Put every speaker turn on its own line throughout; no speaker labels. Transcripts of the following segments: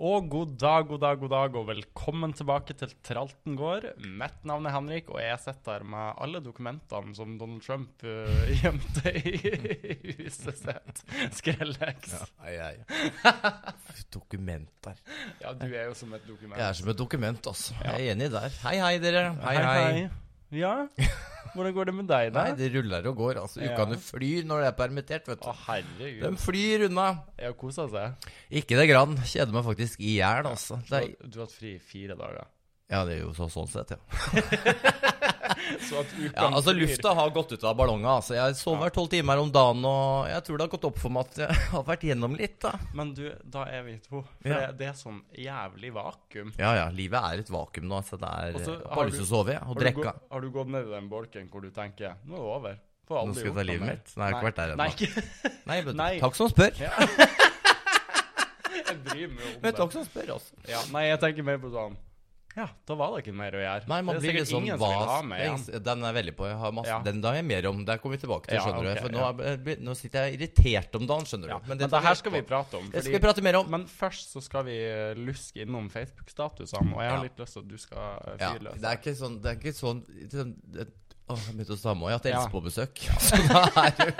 Og god dag, god dag, god dag, og velkommen tilbake til Tralten gård. Mitt navn er Henrik, og jeg sitter her med alle dokumentene som Donald Trump eh, gjemte i huset sitt. Skrellex.
Ja, ei, ei. Dokumenter.
Ja, du er jo som et dokument.
Jeg er som et dokument, altså. Jeg er enig der. Hei, hei, dere. Hei, hei.
Ja, hvordan går det med deg, da?
Nei, det ruller og går. altså.
Ja.
Ukene flyr når det er permittert, vet du.
Å, herregud.
De flyr unna.
Jeg har kosa seg.
Ikke det grann. Kjeder meg faktisk i hjel, altså.
Du
Det
har,
er,
du har hatt fri i fire dager.
ja, det er jo så, sånn sett, ja.
Så at uka
ja. Altså, lufta har gått ut av ballonga, altså. Jeg sover tolv timer om dagen, og jeg tror det har gått opp for meg at jeg har vært gjennom litt, da.
Men du, da er vi to. For
Ja.
det, det er sånn jævlig vakuum.
Ja, ja. Livet er et vakuum nå, så det er
Og så
jeg har
har
bare lyst
du-
til å sove jeg, og
Har du,
drikke.
gå- har du gått ned i den bolken hvor du tenker nå er det over? Får aldri
Nå skal jeg
gjort
ta
noe
livet
mer».
mitt. Nei, jeg har ikke vært der ennå.
Nei, ikke.
Nei, vet du.
Nei.
Takk som spør.
Jeg bryr meg om
Men
det.
takk som spør, altså.
Ja, nei, jeg tenker mer på sånn Ja, da var det ikke mer å gjøre.
Nei, man
det er
blir
sikkert
liksom
ingen som vil
hva
ha meg igjen.
Den er jeg veldig på. Jeg har masse,
Ja.
Den har jeg mer om. Der kommer vi tilbake til,
Ja, ok,
skjønner du. For nå,
ja.
er, blir- nå sitter jeg irritert om dagen, skjønner du.
Ja, men
det
det,
tar vi
her skal
etterpå.
vi prate om.
Det
fordi-
skal vi prate mer om.
Men først så skal vi eh, luske innom Facebook-statusene, og jeg har
Ja.
litt lyst til at du skal eh,
Ja,
fyre løs.
det er ikke sånn Det er ikke sånn sånn- det- Åh, jeg begynte å stamme òg. Jeg
Ja.
har hatt Else på besøk. Så da er det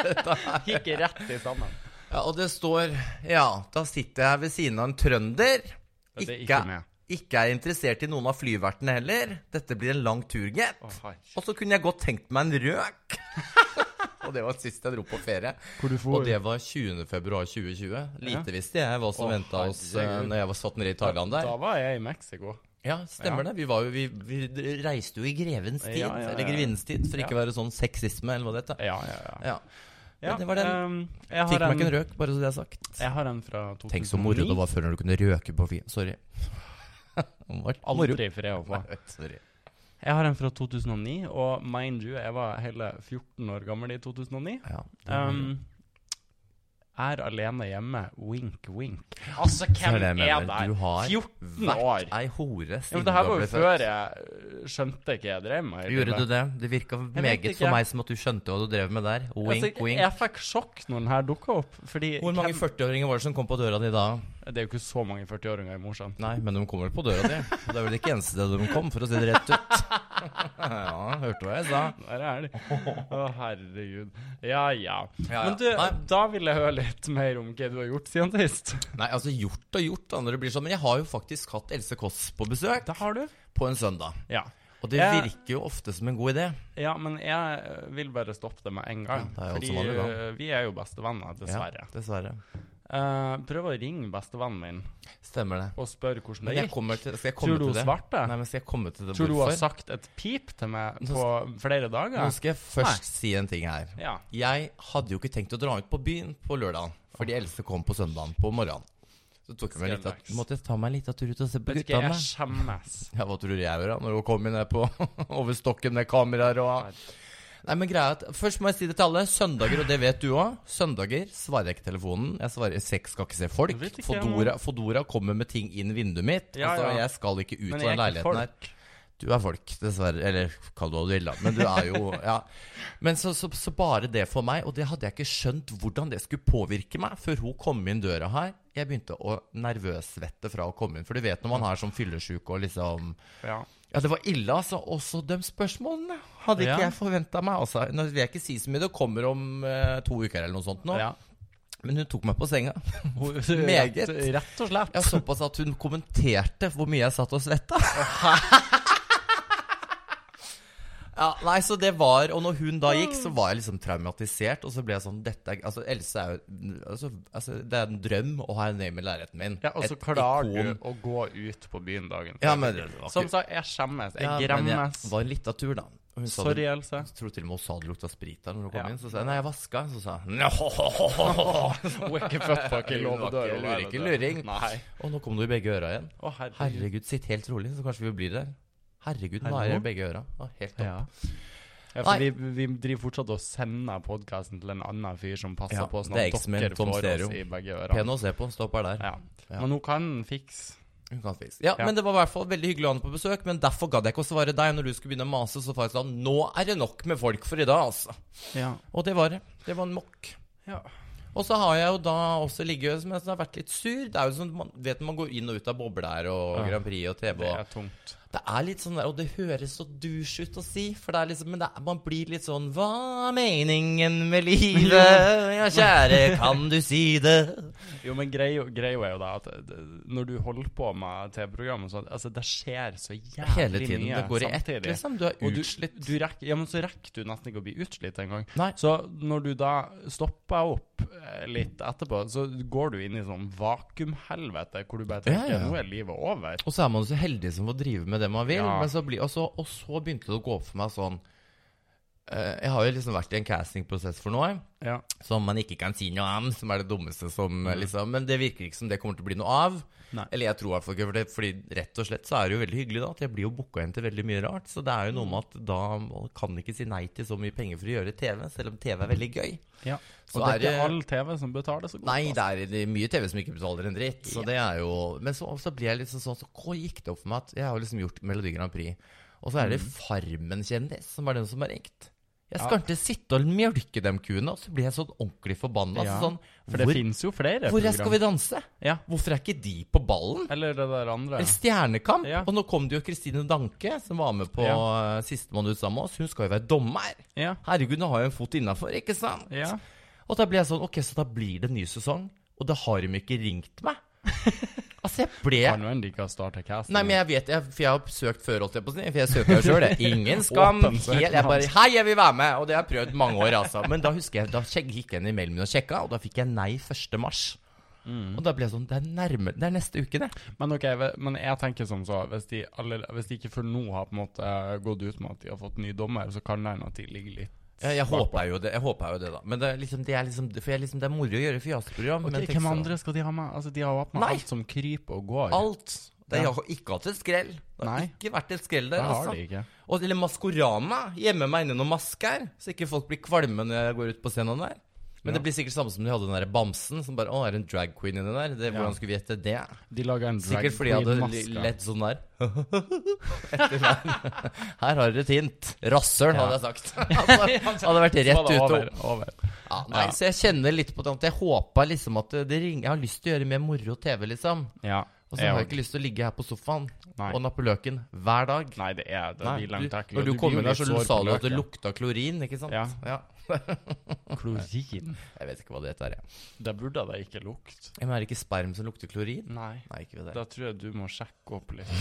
Gikk rett i sammen.
Ja, og det står Ja, da sitter jeg ved siden av en trønder.
Det er ikke
Ikke,
med.
ikke er interessert i noen av flyvertene heller. Dette blir en lang tur, gitt.
Å, herregud.
Og så kunne jeg godt tenkt meg en røk. og det var sist jeg dro på ferie.
Hvor du får-
Og det var 20. februar 2020. Lite visste jeg hva som
Å,
venta oss eh,
herregud.
når jeg var satt nede i Thailand der.
Da var jeg i Mexico.
Ja, stemmer det. Vi, var jo, vi, vi reiste jo i grevens tid,
Ja, ja, ja.
eller grevinnens tid, for ikke å være sånn sexisme eller hva det heter.
Ja, ja, ja.
Ja.
ja
det var den.
ehm, jeg,
Fikk
har
meg ikke en
en,
røk, bare så det er sagt.
jeg har en fra 2009.
Tenk så moro det var før når du kunne røke på fly. Sorry. Det var moro.
Aldri fred å få.
Nei, Sorry.
Jeg har en fra 2009, og mind you, jeg var hele 14 år gammel i 2009.
Ja.
Ehm, er alene hjemme, wink, wink. Altså, hvem
det jeg
er
mener.
der?
Du har
14 år!
Vært ei hore
Ja, men
siden
det her var
ble
jo
født.
før jeg øh, skjønte hva jeg drev med. i
Gjorde du
livet.
det? Det virka
vet
meget
ikke.
for meg som at du skjønte hva du drev med der. Wink,
altså,
wink.
Jeg fikk sjokk når den her dukka opp. Fordi
Hvor mange
hvem-
40-åringer var det som kom på døra di da?
Det er jo ikke så mange 40-åringer i Mosjøen.
Nei, men de kom vel på døra di. Det er vel ikke eneste stedet de kom, for å si det rett ut. Ja, hørte hva jeg sa.
Der er de. Å, herregud. Ja, ja.
Ja,
Men du,
ja. Nei.
da vil jeg høre litt mer om hva du har gjort siden sist.
Nei, altså gjort og gjort, da, når det blir sånn. Men jeg har jo faktisk hatt Else Kåss på besøk
Det har du.
på en søndag.
Ja.
Og det
Jeg-
virker jo ofte som en god idé.
Ja, men jeg eh, vil bare stoppe det med en gang.
Ja, det er jo
fordi
som vanlig, da.
eh, vi er jo bestevenner, dessverre.
Ja, dessverre.
Eh, prøv å ringe bestevennen min
Stemmer det.
og spørre hvordan
Men
det
jeg
gikk.
kommer til, skal jeg komme
Tror du
til
hun
det?
svarte?
Nei, men skal jeg komme til det
Tror du hun har
hvorfor?
sagt et pip til meg på flere
Nå
dager?
skal jeg først si en ting her.
Ja.
Jeg hadde jo ikke tenkt å dra ut på byen på lørdagen, fordi Else kom på søndagen på morgenen. Så tok jeg meg litt av,
Skremmaks.
måtte jeg ta meg litt av tur ut og se på
Vet ikke,
guttene.
jeg skjemmes.
Ja, hva tror du jeg gjør da, når hun kommer ned på over stokken med kameraer og Nei, men greia er at Først må jeg si det til alle. Søndager, og det vet du òg. Søndager svarer jeg ikke telefonen. Jeg svarer sex, skal ikke se folk.
Vet ikke jeg,
Fodora, Fodora kommer med ting inn vinduet mitt.
Ja,
altså,
ja.
jeg skal ikke ut
Men jeg
av den
er ikke
leiligheten her.
folk.
Du er folk, dessverre. Eller kall det hva du vil, da. Men du er jo Ja. Men så, så, så bare det for meg, og det hadde jeg ikke skjønt hvordan det skulle påvirke meg før hun kom inn døra her. Jeg begynte å nervøssvette fra å komme inn. For du vet når man er som fyllesyk og liksom
Ja.
Ja, det var ille, altså. Også de spørsmålene hadde ikke
Ja.
jeg forventa meg. Altså. Nå vil jeg ikke si så mye, det kommer om eh, to uker eller noe sånt nå.
ja.
Men hun tok meg på senga.
Meget. Rett, rett og slett.
Ja, Såpass at hun kommenterte hvor mye jeg satt og svetta. Ja, nei, så det var Og når hun da gikk, så var jeg liksom traumatisert. Og så ble jeg sånn dette er, Altså, Else er jo altså, altså, Det er en drøm å ha henne hjemme i leiligheten min.
Ja, og så
Et
klarer
ikon.
du å gå ut på byen dagen
Ja,
før.
men det var ikke-
Som sagt, jeg skjemmes. Jeg
Ja, men
gremmes.
Det var en liten tur, da. Og Hun sa
Sorry,
det,
Else.
jeg tror til og med hun sa det lukta sprit der når hun kom
Ja.
inn. Så sa jeg nei, jeg vaska. Så sa hun «Nå».
Hun er ikke født på ikke lov å dø.
Hun var ikke luring.
Nei.
Og nå kom det i begge øra igjen.
Å, herregud.
Herregud, sitt helt rolig, så kanskje vi blir der. Herregud, nå
Hallo?
er det begge øra. Å, Helt topp.
Ja. Ja, for vi, vi driver fortsatt og sender podkasten til en annen fyr som passer
Ja,
på sånn
det
at
er X-Men,
dere
Tom
får
Stereo.
oss i begge
Pen
ørene.
å se på, stopper der.
Ja. Men hun kan fikse.
Hun kan spise. Ja,
Ja.
Men det var i hvert fall veldig hyggelig å ha henne på besøk, men derfor gadd jeg ikke å svare deg når du skulle begynne å mase. Så faktisk sånn, nå er det nok med folk for i dag, altså.
Ja.
Og det var det. Det var en mokk.
ja.
Og så har jeg jo da også ligget som jeg har vært litt sur. Det er jo sånn, man vet når man går inn og ut av boble her, og
Ja.
Grand Prix og TV
Det
og
er tungt.
Det er litt sånn der, og det høres så douche ut å si, for det er liksom, men det er, man blir litt sånn Hva er meningen med livet? Ja, kjære, kan du si det?
Jo, men greia greia er jo da at eh, det- når du holder på med TV-program og sånn, altså det skjer så jævlig
Hele tiden.
mye
Det går i ett,
samtidig.
liksom. Du er
Og du,
utslitt.
du rekker, ja, men så rekker du nesten ikke å bli utslitt engang.
Nei.
Så når du da stopper opp eh, litt etterpå, så går du inn i sånn vakuumhelvete hvor du bare
Ja,
tenker
ja.
nå er livet over.
Og så er man jo så heldig som får drive med det man vil.
Ja.
Men så blir, og, så, og så begynte det å gå opp for meg sånn eh, Jeg har jo liksom vært i en castingprosess for noe
Ja.
som man ikke kan si noe om, som er det dummeste som eh, liksom Men det virker ikke som det kommer til å bli noe av.
Nei.
Eller jeg tror i hvert fall ikke for det, fordi rett og slett så er det jo veldig hyggelig da at jeg blir jo booka inn til veldig mye rart. Så det er jo noe med at da kan man ikke si nei til så mye penger for å gjøre TV, selv om TV er veldig gøy.
Ja.
Så
Og det
er
er ikke
det-
all TV som betaler så godt.
Nei,
altså.
det er det er mye TV som ikke betaler en dritt. Så det er jo Men så, så blir jeg liksom sånn Så hva gikk det opp for meg at jeg har liksom gjort Melodi Grand Prix. Og så er det Farmen-kjendis som er den som har ringt. Jeg skal
Ja.
ikke sitte og mjølke dem kuene, og så blir jeg sånn ordentlig forbanna.
Ja,
Altså sånn,
For det
hvor,
finnes jo flere
hvor
program.
er Skal vi danse?
Ja.
Hvorfor er ikke de på ballen?
Eller det der andre.
Eller Stjernekamp.
Ja.
Og nå kom det jo Kristine Danke, som var med på
Ja.
eh, Sistemann ut sammen med oss. Hun skal jo være dommer.
Ja.
Herregud, nå har jeg en fot innafor, ikke sant?
ja.
Og da ble jeg sånn, ok, så da blir det en ny sesong, og da har de ikke ringt meg. altså, jeg ble...
Kan jo hende de ikke har starta casting.
Nei, men jeg vet, jeg, for jeg har søkt før, holdt jeg på å si, for jeg søker jo sjøl. Ingen skam.
Åpen
helt,
søknad.
jeg bare Hei, jeg vil være med! Og det har jeg prøvd mange år, altså. Men da husker jeg, da sjek- gikk jeg inn i mailen min og sjekka, og da fikk jeg nei 1. mars.
Mm.
Og da ble jeg sånn Det er nærme, det er neste uke, det.
Men ok, ve- men jeg tenker som så Hvis de, alle, hvis de ikke før nå har på en måte eh, gått ut med at de har fått ny dommer, så kan det hende at de ligger litt
Jeg, jeg håpa jo det, jeg håper jo det, da. Men det er liksom, det er liksom, for jeg, liksom, det er moro å gjøre fjaseprogram. men
Ok,
tenk
Hvem
så-
andre skal de ha med? Altså, De har jo hatt med
Nei.
alt som kryper og går.
Alt. Det,
Ja.
jeg har ikke hatt et skrell. Det har
Nei.
ikke vært et skrell der,
det har
altså.
de ikke.
Og, eller Maskorama. Gjemme meg inni noen masker, så ikke folk blir kvalme når jeg går ut på scenen der. Men
Ja.
det blir sikkert samme som de hadde den der bamsen. Som bare, å, er det en drag queen i den der? Det, Hvordan skulle vi gjette det?
De lager en drag
Sikkert fordi jeg hadde li-
queen-maske.
lett sånn der. Etter meg. Her har dere et hint. Rasshøl, hadde jeg sagt. altså, hadde vært
Så var
rett
det
ut.
over, over.
Ja, nei,
Ja.
Så jeg kjenner litt på det at jeg håpa liksom at det ringer Jeg har lyst til å gjøre mer moro TV, liksom.
Ja.
Og så
jeg
har
har-
jeg ikke lyst til å ligge her på sofaen
Nei.
og nappe løken hver dag.
Nei, det er det.
Nei,
blir eh, langt
du-
ekkel, og
Når du,
blir
kom
jo
inn her,
litt
så
sår på
sa du at det
løken.
lukta klorin, ikke sant?
Ja. Klorin?
Jeg vet ikke hva det heter. Jeg.
Det burde det ikke lukte.
Men er det ikke sperm som lukter klorin?
Nei.
Nei, ikke ved det.
Da tror jeg du må sjekke opp litt. det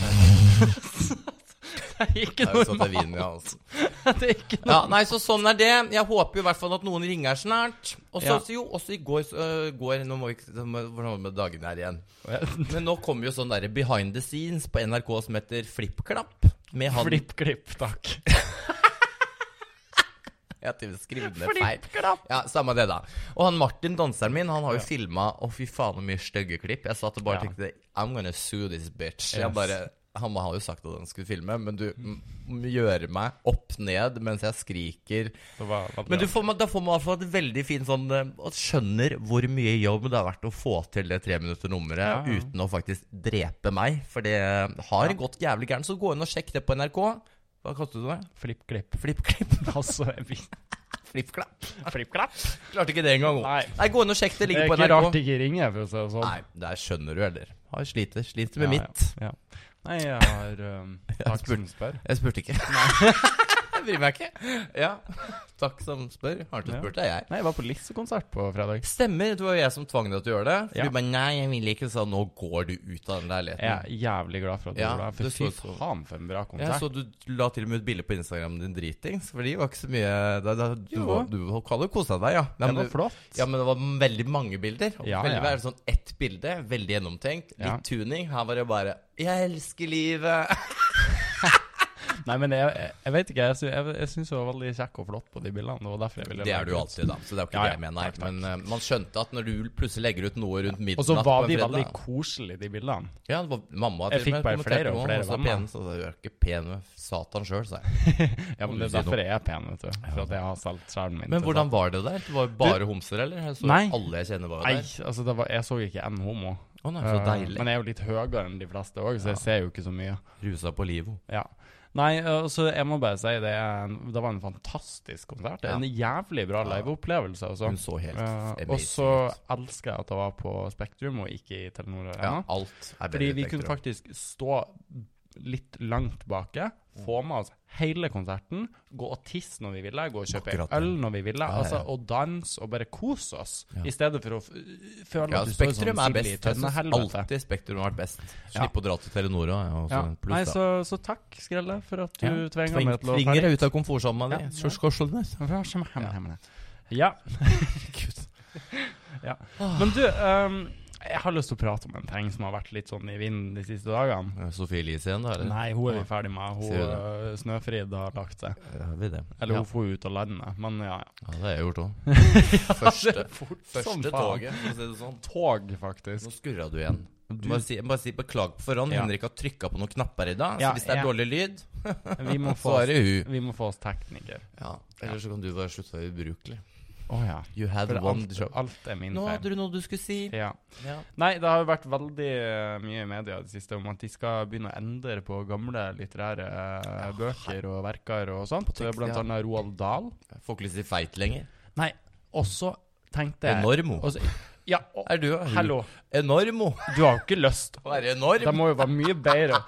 er ikke
Det er jo sånn det er
normalt.
vin, ja, altså.
Det er ikke
ja, nei, så sånn er det. Jeg håper jo i hvert fall at noen ringer snart. Og så
Ja.
så jo, også i går, så, øh, går Nå må vi ikke Hvordan var det med dagene her igjen? Men nå kommer jo sånn derre behind the scenes på NRK som heter Flippklapp. Med han
Flipp-klipp, takk.
Jeg har til og med skrevet ned feil. Ja, Samme det, da. Og han Martin, danseren min, han har jo filma Å, fy faen, så mye stygge klipp. Jeg satt og bare
Ja.
tenkte I'm gonna sue this bitch.
Yes.
Jeg bare han har jo sagt at han skulle filme, men du m- gjør meg opp ned mens jeg skriker.
Det var, var
Men du får, meg- da får man i hvert fall et veldig fint sånn eh, Og skjønner hvor mye jobb det har vært å få til det treminutter-nummeret
Ja, ja.
uten å faktisk drepe meg. For det har gått jævlig gærent. Så gå inn og sjekk det på NRK. Hva kastet du det?
Flipp-klipp.
Flippklipp?
Altså, jeg vet-
Flippklapp?
flipp-klapp?
Klarte ikke det engang.
Nei.
Nei, gå inn og sjekk det.
Det er
Ligger på
ikke rart
NRK.
de ikke ringer, for å si det sånn.
Nei, der skjønner du heller. Har sliter. Sliter med
Ja,
mitt.
Ja. Nei, jeg har um, Takk som spør.
Jeg spurte ikke. jeg bryr meg ikke. Ja. Takk som spør. Har ikke
Ja.
spurt, er jeg.
Nei, jeg var på Lisse-konsert på fredag.
Stemmer. Det var jo jeg som tvang deg til å gjøre det. For
Ja.
du bare nei, jeg vil ikke, sa nå går du ut av den
Jeg
leiligheten.
er jævlig glad for at du
Ja,
var der.
det
For fy
så jeg så.
faen, for en bra
Ja,
konsert.
så du la til og med ut bilde på Instagramen din dritings, for de var ikke så mye da, da, Du,
Jo.
var- du hadde jo kosa deg, ja.
det
Nei, men
var
du-
flott.
Ja, men det var veldig mange bilder. Og
Ja, ja.
veldig, det er sånn ett bilde, veldig gjennomtenkt.
Ja.
Litt tuning. Her var det bare 'Jeg elsker livet'.
Nei, men jeg, jeg, jeg vet ikke. Jeg, sy- jeg, jeg syns hun var veldig kjekk og flott på de bildene. Det var derfor jeg ville
Det er
legge
du jo
ut.
alltid, da. Så det er jo ikke
Ja,
det
ja.
jeg mener.
Takk, takk.
Men eh, man skjønte at når du plutselig legger ut noe rundt midnatt
Og så var
på en
de
fredag
veldig koselige, de bildene.
Ja, det var
Jeg
mamma til og med
fikk bare
kommenterte
flere og
på,
flere
så
venner.
pen, så det er jo ikke pen med satan sjøl, sa jeg.
Ja, men
du
Det er
si noe?
derfor jeg er pen, vet du. For at jeg har solgt sjelen min.
Men
til
hvordan var det der? Det var jo bare homser, eller? Jeg så
Nei.
alle jeg kjenner, var
Nei,
jo der.
altså det var, jeg så ikke en homo.
Å nei, så
Eh,
deilig.
Men jeg er jo litt høyere enn de fleste òg, så jeg ser jo ikke så mye.
Rusa på livet.
Ja. Nei, altså, jeg må bare si det, er en- det var en fantastisk konsert. Det er En jævlig bra
Ja.
liveopplevelse. Altså.
Hun så helt
Eh,
amazing
og så
ut.
elsker jeg at det var på Spektrum og ikke i Telenor
Ja,
Arena.
alt er bedre.
fordi vi
effekter
kunne
også.
faktisk stå litt langt bake,
Mm.
få med oss hele konserten, gå og tisse når vi ville, gå og kjøpe
Akkurat det.
øl når vi ville,
Ja, ja,
Altså,
ja.
og danse og bare kose oss,
Ja.
i stedet for å f føle
ja,
at du står
Spektrum
sånn
er
sild i
best. Jeg synes
tønnehelvete.
altså. alltid Spektrum har vært best.
Ja.
Slipp å dra til Telenor òg.
Ja. Nei,
Pluss, da.
så, så takk, Skrelle, for at du
Ja.
tvinga meg til å
Tvinger deg ut av komfortsona di.
Ja.
Så skal du skjønne.
ferdig. Ja.
Gud.
Men du, ehm, jeg har lyst til å prate om en ting som har vært litt sånn i vinden de siste dagene.
Eh, Sofie Elise igjen, da? eller?
Nei, hun er vi ferdig med. Hun
Sier du
eh, Snøfrid har lagt seg.
Ja, har vi det?
Eller
ja.
hun får ut av landet, men ja. ja.
ja, det har jeg gjort òg. Første,
Fort som
første
faen.
toget, for å si det sånn.
Tog, faktisk.
Nå skurra du igjen. Bare, si, bare si beklag på forhånd.
Ja.
Henrik har trykka på noen knapper i dag.
Ja,
så hvis det er
ja.
dårlig lyd,
Vi må
så
få
er
oss,
det hun.
vi må få oss tekniker.
Ja, Eller så kan du bare slutte å være ubrukelig.
Å ja.
You had
For
one
alt,
job.
alt er min
Nå
feil.
hadde du noe du skulle si.
Ja.
Ja.
Nei, det har jo vært veldig eh, mye i media i det siste om at de skal begynne å endre på gamle litterære eh, bøker og verker og sånt.
tekst,
Blant
ja.
annet Roald Dahl.
Jeg Får ikke lyst til å si feit lenger.
Nei, også tenkte jeg
Enormo.
også- Ja, og,
Er du
hallo.
Enormo.
Du har jo ikke lyst.
Å være
Det
enorm.
må jo være mye bedre.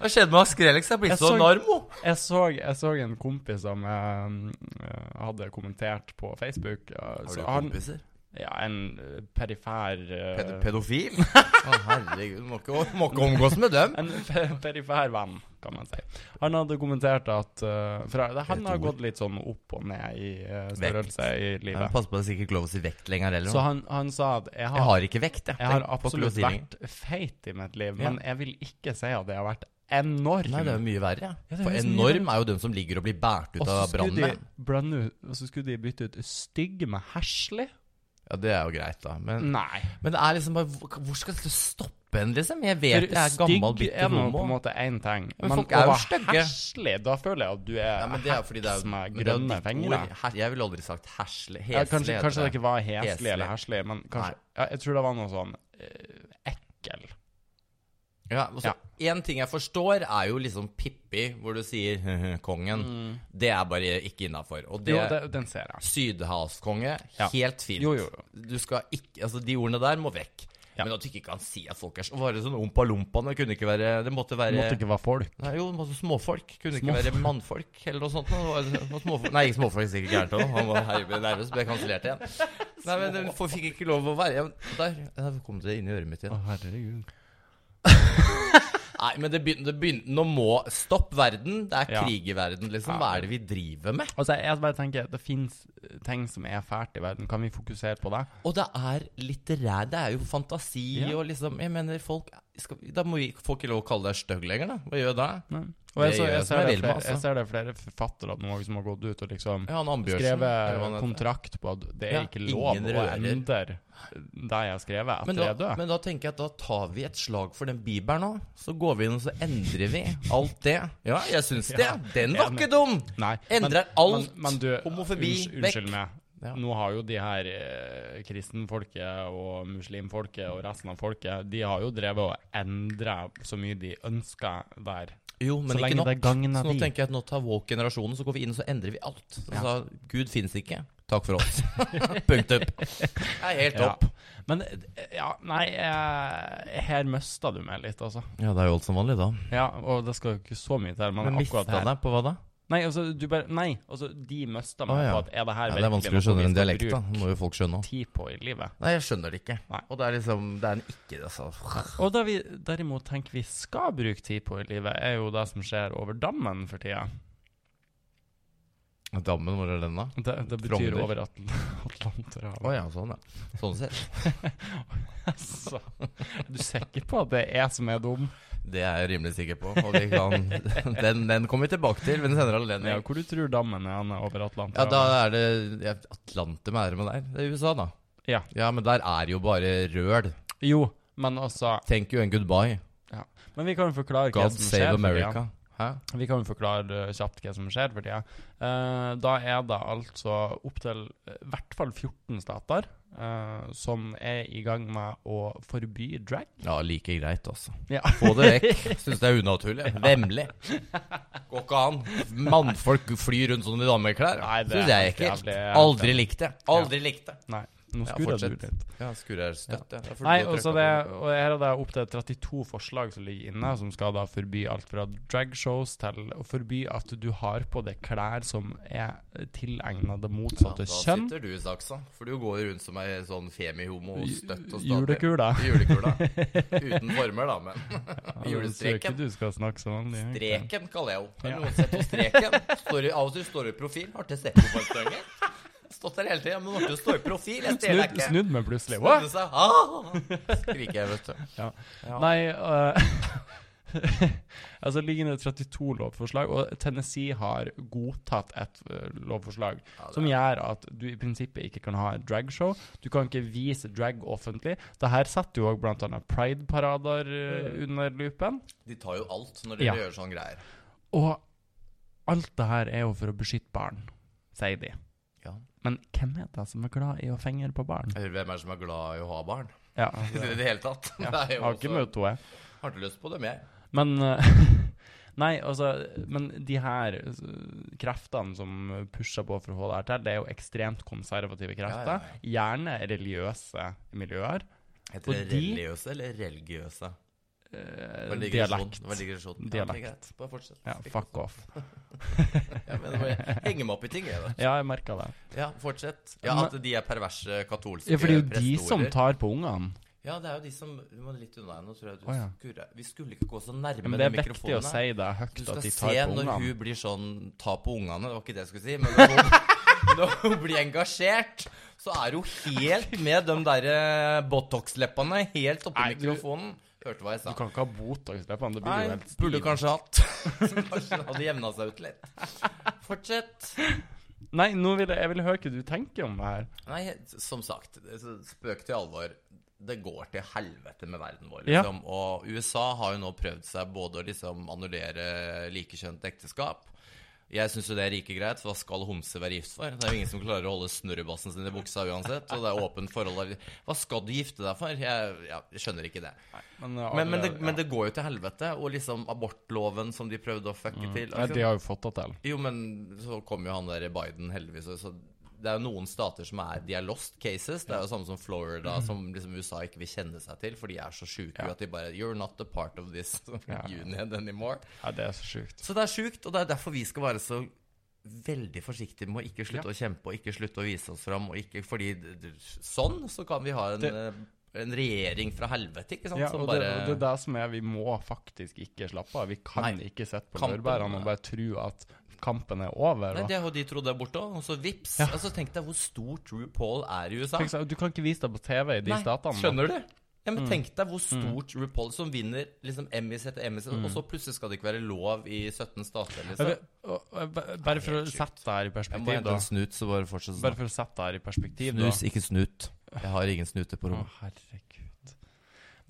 Hva skjedde med Skrellex? Jeg er blitt
Jeg
så
så-
enormo.
Jeg så, jeg så en kompis som eh, eh, hadde kommentert på Facebook. eh,
Har
så
du
han-
kompiser?
Ja, en eh, perifer eh,
Ped pedofil? Å herregud, må ikke, må ikke omgås med dem.
En pe- perifer venn, kan man si. Han hadde kommentert at eh, for det- Han
Et
har
ord.
gått litt sånn opp og ned i eh,
Vekt.
størrelse i
Ja,
livet.
Pass på, det er sikkert ikke lov å si vekt lenger heller.
Så han, han sa at jeg
jeg
har,
har ikke vekt, jeg.
jeg har
Tenk, får ikke lov
absolutt
å si lenger.
vært feit i mitt liv,
Ja.
men jeg vil ikke si at jeg har vært enorm.
Nei, det er jo mye
Ja,
verre. Ja.
det
For
høres mye
enorm er jo den som ligger og blir båret ut
og så
av
skulle de
brannmenn.
blande ut- og så skulle de bytte ut stygg med herselig?
Ja, det er jo greit, da. Men,
Nei.
men det er liksom bare hvor- Hvor skal det stoppe en, liksom? Jeg vet jeg er
For
gammel,
stygg er
bitter
nå på en
homo.
måte én ting,
Men
men,
folk er
å
jo
være
stygge.
herselig, da føler jeg at du er,
Ja, men det er jo fordi det er,
heks med
men det er jo
grønne
ditt
fingre.
ord. Her- Jeg ville aldri sagt hersle. Hesle.
Ja, kanskje,
heter
kanskje det ikke var heslig
Heslig.
eller herslig, men kanskje ja, Jeg tror det var noe sånn eh, ekkel.
Ja, og så En ting jeg forstår, er jo liksom Pippi, hvor du sier kongen. Det er bare ikke innafor. Og det,
Mm. Jo, det, den ser jeg.
Sydhavskonge,
Ja.
helt fint.
Jo, jo,
Du skal ikke, altså De ordene der må vekk.
Ja.
Men at du ikke kan si at folk er så Var det sånn ompa-lompaene? Kunne ikke være Det måtte være
Måtte ikke være folk.
Nei, jo, det måtte småfolk. Kunne
Småfolk.
ikke være mannfolk eller noe sånt. nå. Det var- det var småfolk. Nei, ikke småfolk, sikkert gærent òg. Han var herre, ble nervøs, ble kansellert igjen. Nei, men det folk fikk ikke lov å være ja, Der der kom det inn i øret mitt igjen.
herregud.
Nei, men det begynner, det begyn- Nå må Stopp verden. Det er
Ja.
krig i verden, liksom. Hva er det vi driver med?
Altså, jeg bare tenker, det fins ting som er fælt i verden. Kan vi fokusere på det?
Og det er litterær Det er jo fantasi
Ja.
og liksom Jeg mener, folk skal, Da må vi får ikke lov å kalle deg stygg lenger, da. Hva gjør jeg da?
Og jeg,
Det
så,
gjør
jeg,
jeg som
ser
jeg
det
vil med,
flere, jeg
altså.
ser det flere forfattere nå som har gått ut og liksom
Ja, han Ambjørnsen. eller hva
skrevet
han heter.
eh, kontrakt på at det er
Ja,
ikke lov å
ingen rører.
endre det jeg har skrevet etter
Men
jeg er
da,
død.
men da tenker jeg at da tar vi et slag for den bibelen òg. Så går vi inn og så endrer vi alt det. Ja, jeg syns det.
Ja,
Den var
enig.
ikke dum!
Nei,
Endrer
men,
alt.
Men, men du,
Homofobi,
unnskyld,
vekk.
unnskyld meg.
Ja.
Nå har jo de her eh, kristenfolket og muslimfolket og resten av folket De har jo drevet og endre så mye de ønsker der.
Jo, men
lenge
ikke nok.
det gagner
så nå
de.
tenker jeg at nå tar woke-generasjonen, så går vi inn og så endrer vi alt. Så
Ja.
sa Gud fins ikke. Takk for oss. Punktum. Jeg er helt opp.
Ja. Men eh, ja, nei, eh, her mista du meg litt, altså.
Ja, det er jo alt som vanlig, da.
Ja, og det skal jo ikke så mye til, men,
Men mista
akkurat her
deg på hva da?
Nei, altså, du bare, nei, altså de mista meg
Å, ja.
på at er det her
Ja, det er vanskelig å skjønne en dialekt, da. Det må jo folk skjønne.
tid på i livet.
Nei, jeg skjønner det ikke.
Nei.
Og det er liksom Det er en ikke, altså.
Og det vi derimot tenker vi skal bruke tid på i livet, er jo det som skjer over dammen for tida.
Dammen, hvor er den, da?
Det, det betyr
Frogner.
over Atl Atlanterhavet.
Å ja, sånn, ja. Sånn sett.
Altså, er du sikker på at det er jeg som er dum?
Det er jeg rimelig sikker på. Og vi kan Den, den kommer vi tilbake til ved en senere
Ja,
anledning.
hvor du tror dammen er han er over
Ja, da
Atlanterhavet?
er det ja, Atlantum er det med der. Det er USA, da.
Ja.
ja, men der er jo bare røl.
Jo, men altså
Thank you and goodbye.
Men vi kan jo forklare hva
God
som
save
skjer. for tida.
America. Ja.
Vi kan jo forklare eh, kjapt hva som skjer for tida. Eh, da er det altså opptil i hvert fall 14 stater eh, som er i gang med å forby drag.
ja, like greit, altså.
Ja.
Få det vekk. Syns det er unaturlig. Vemmelig. Går ikke an. Mannfolk flyr rundt sånn i dameklær.
Nei, det er
Syns jeg
helt
ikke.
jævlig.
Aldri likt det. Aldri likt det.
Nei, nå
Ja,
skurrer du
fortsett.
litt.
Ja, skurrer støtt, ja. Da får du
Nei,
gå og
og så
trykke
det,
på-
og her er det opptil 32 forslag som ligger inne, som skal da forby alt fra dragshows til å forby at du har på deg klær som er tilegna det motsatte
Da
kjønn.
sitter du i saksa, for du går rundt som ei sånn femihomo støtt og stadig.
Julekula.
Julekula. Uten former, da, men Julestreken.
Jeg tror ikke du skal snakke sånn. om det, egentlig.
Streken kaller jeg henne. Har noen sett henne streken? Står i, av og til står hun i profil. Har ikke sett henne på en stund. Stått der hele tida. Men hun står i profil. Jeg ser deg
Snudd,
ikke.
snudd meg plutselig. What?
Snudde seg. Ah! Skriker jeg, vet du.
Ja.
Ja.
Nei eh, Altså ligger det 32 lovforslag, og Tennessee har godtatt et eh, lovforslag
Ja, det
som
er-
gjør at du i prinsippet ikke kan ha et dragshow. Du kan ikke vise drag offentlig. Det her setter jo òg bl.a. pride-parader eh, under lupen.
De tar jo alt når de
Ja.
gjør sånne greier.
Og alt det her er jo for å beskytte barn, sier de.
Ja.
Men hvem er det som er glad i å fenge på barn?
Eller Hvem er det som er glad i å ha barn?
Ja,
I
altså,
det hele tatt.
ja.
Det er
Jeg
jo
har ikke
også,
møtt henne.
har ikke lyst på dem, jeg.
Men eh, Nei, altså Men de her eh, kreftene som pusher på for å få det her til, det er jo ekstremt konservative krefter.
Ja,
Gjerne religiøse miljøer.
Heter det
Og de-
religiøse eller religiøse?
eh,
Det var en digresjon.
dialekt.
Det var en digresjon. Ja,
Dialekt.
det er greit. Bare fortsett.
Ja, fuck off.
Jeg mener, bare henge meg opp i ting, jeg. da.
Ja, jeg merka det.
Ja, fortsett. Ja,
Men-
At de er perverse katolske
Ja, for det er jo de
prestorer.
som tar på ungene.
Ja, det er jo de som Vi må litt unna nå, tror jeg. Du
Å, ja.
skurrer. Vi skulle ikke gå så nærme
Ja, men det er
de
viktig å
mikrofonene.
si det høyt,
Du
at
skal
de
se
tar på
når
ungene.
hun blir sånn Ta på ungene. Det var ikke det jeg skulle si, men når hun, når hun blir engasjert, så er hun helt med de derre Botox-leppene helt oppi
Nei, du-
mikrofonen. Hørte hva jeg
Du
sa.
kan ikke ha Botox-leppene. Det blir jo
Nei,
helt
burde
stiv.
kanskje hatt. Som kanskje hadde jevna seg ut litt. Fortsett.
Nei, nå vil jeg, jeg vil høre hva du tenker om det her.
Nei, som sagt, altså, spøk til alvor. Det går til helvete med verden vår,
Ja.
liksom. Og USA har jo nå prøvd seg både å liksom annullere likekjønt ekteskap Jeg syns jo det er like greit, for hva skal homse være gift for? Det er jo ingen som klarer å holde snurrebassen sin i buksa uansett, og det er åpent forhold der. Hva skal du gifte deg for? Jeg, ja, jeg skjønner ikke det.
Men, eh,
Men, men, det,
alle-
men det går jo til helvete, og liksom abortloven som de prøvde å fucke til.
Nei,
liksom.
de har jo fått det til.
Jo, men så kom jo han der Biden heldigvis og så det er jo noen stater som er De er lost cases. Det er jo samme som Florida, som liksom USA ikke vil kjenne seg til, for de er så sjuke
Mhm. Ja.
at de bare You're not a part of this
Ja.
union anymore.
Ja, det er så sjukt.
Så det er sjukt, og det er derfor vi skal være så veldig forsiktige med å ikke slutte å kjempe og ikke slutte å vise oss fram. Og ikke, fordi d- d- sånn så kan vi ha en,
Det-
eh, en regjering fra helvete, ikke sant,
Ja,
som
og
Sånn bare
det, og det er det som er Vi må faktisk ikke slappe av. Vi kan
Nei.
ikke sitte på
Kampen-
laurbærene og bare tro at kampen er over.
Nei,
og-
det har de trodd er borte òg, og så vips. Altså, tenk deg hvor stort RuPaul er i USA.
Tenk så, du kan ikke vise det på TV i de statene. da.
Skjønner du? Ja,
Mm.
men Tenk deg hvor stort RuPaul som vinner liksom Emmys etter Emmys,
Mm.
og så plutselig skal det ikke være lov i 17 stater.
Jeg
liksom.
vet- og- og- ba- Bare for å sette det her i perspektiv, da.
snut, så bare fortsett
Bare for å sette det her i perspektiv, da.
ikke snut. Jeg har ingen snuter på
Å, herregud.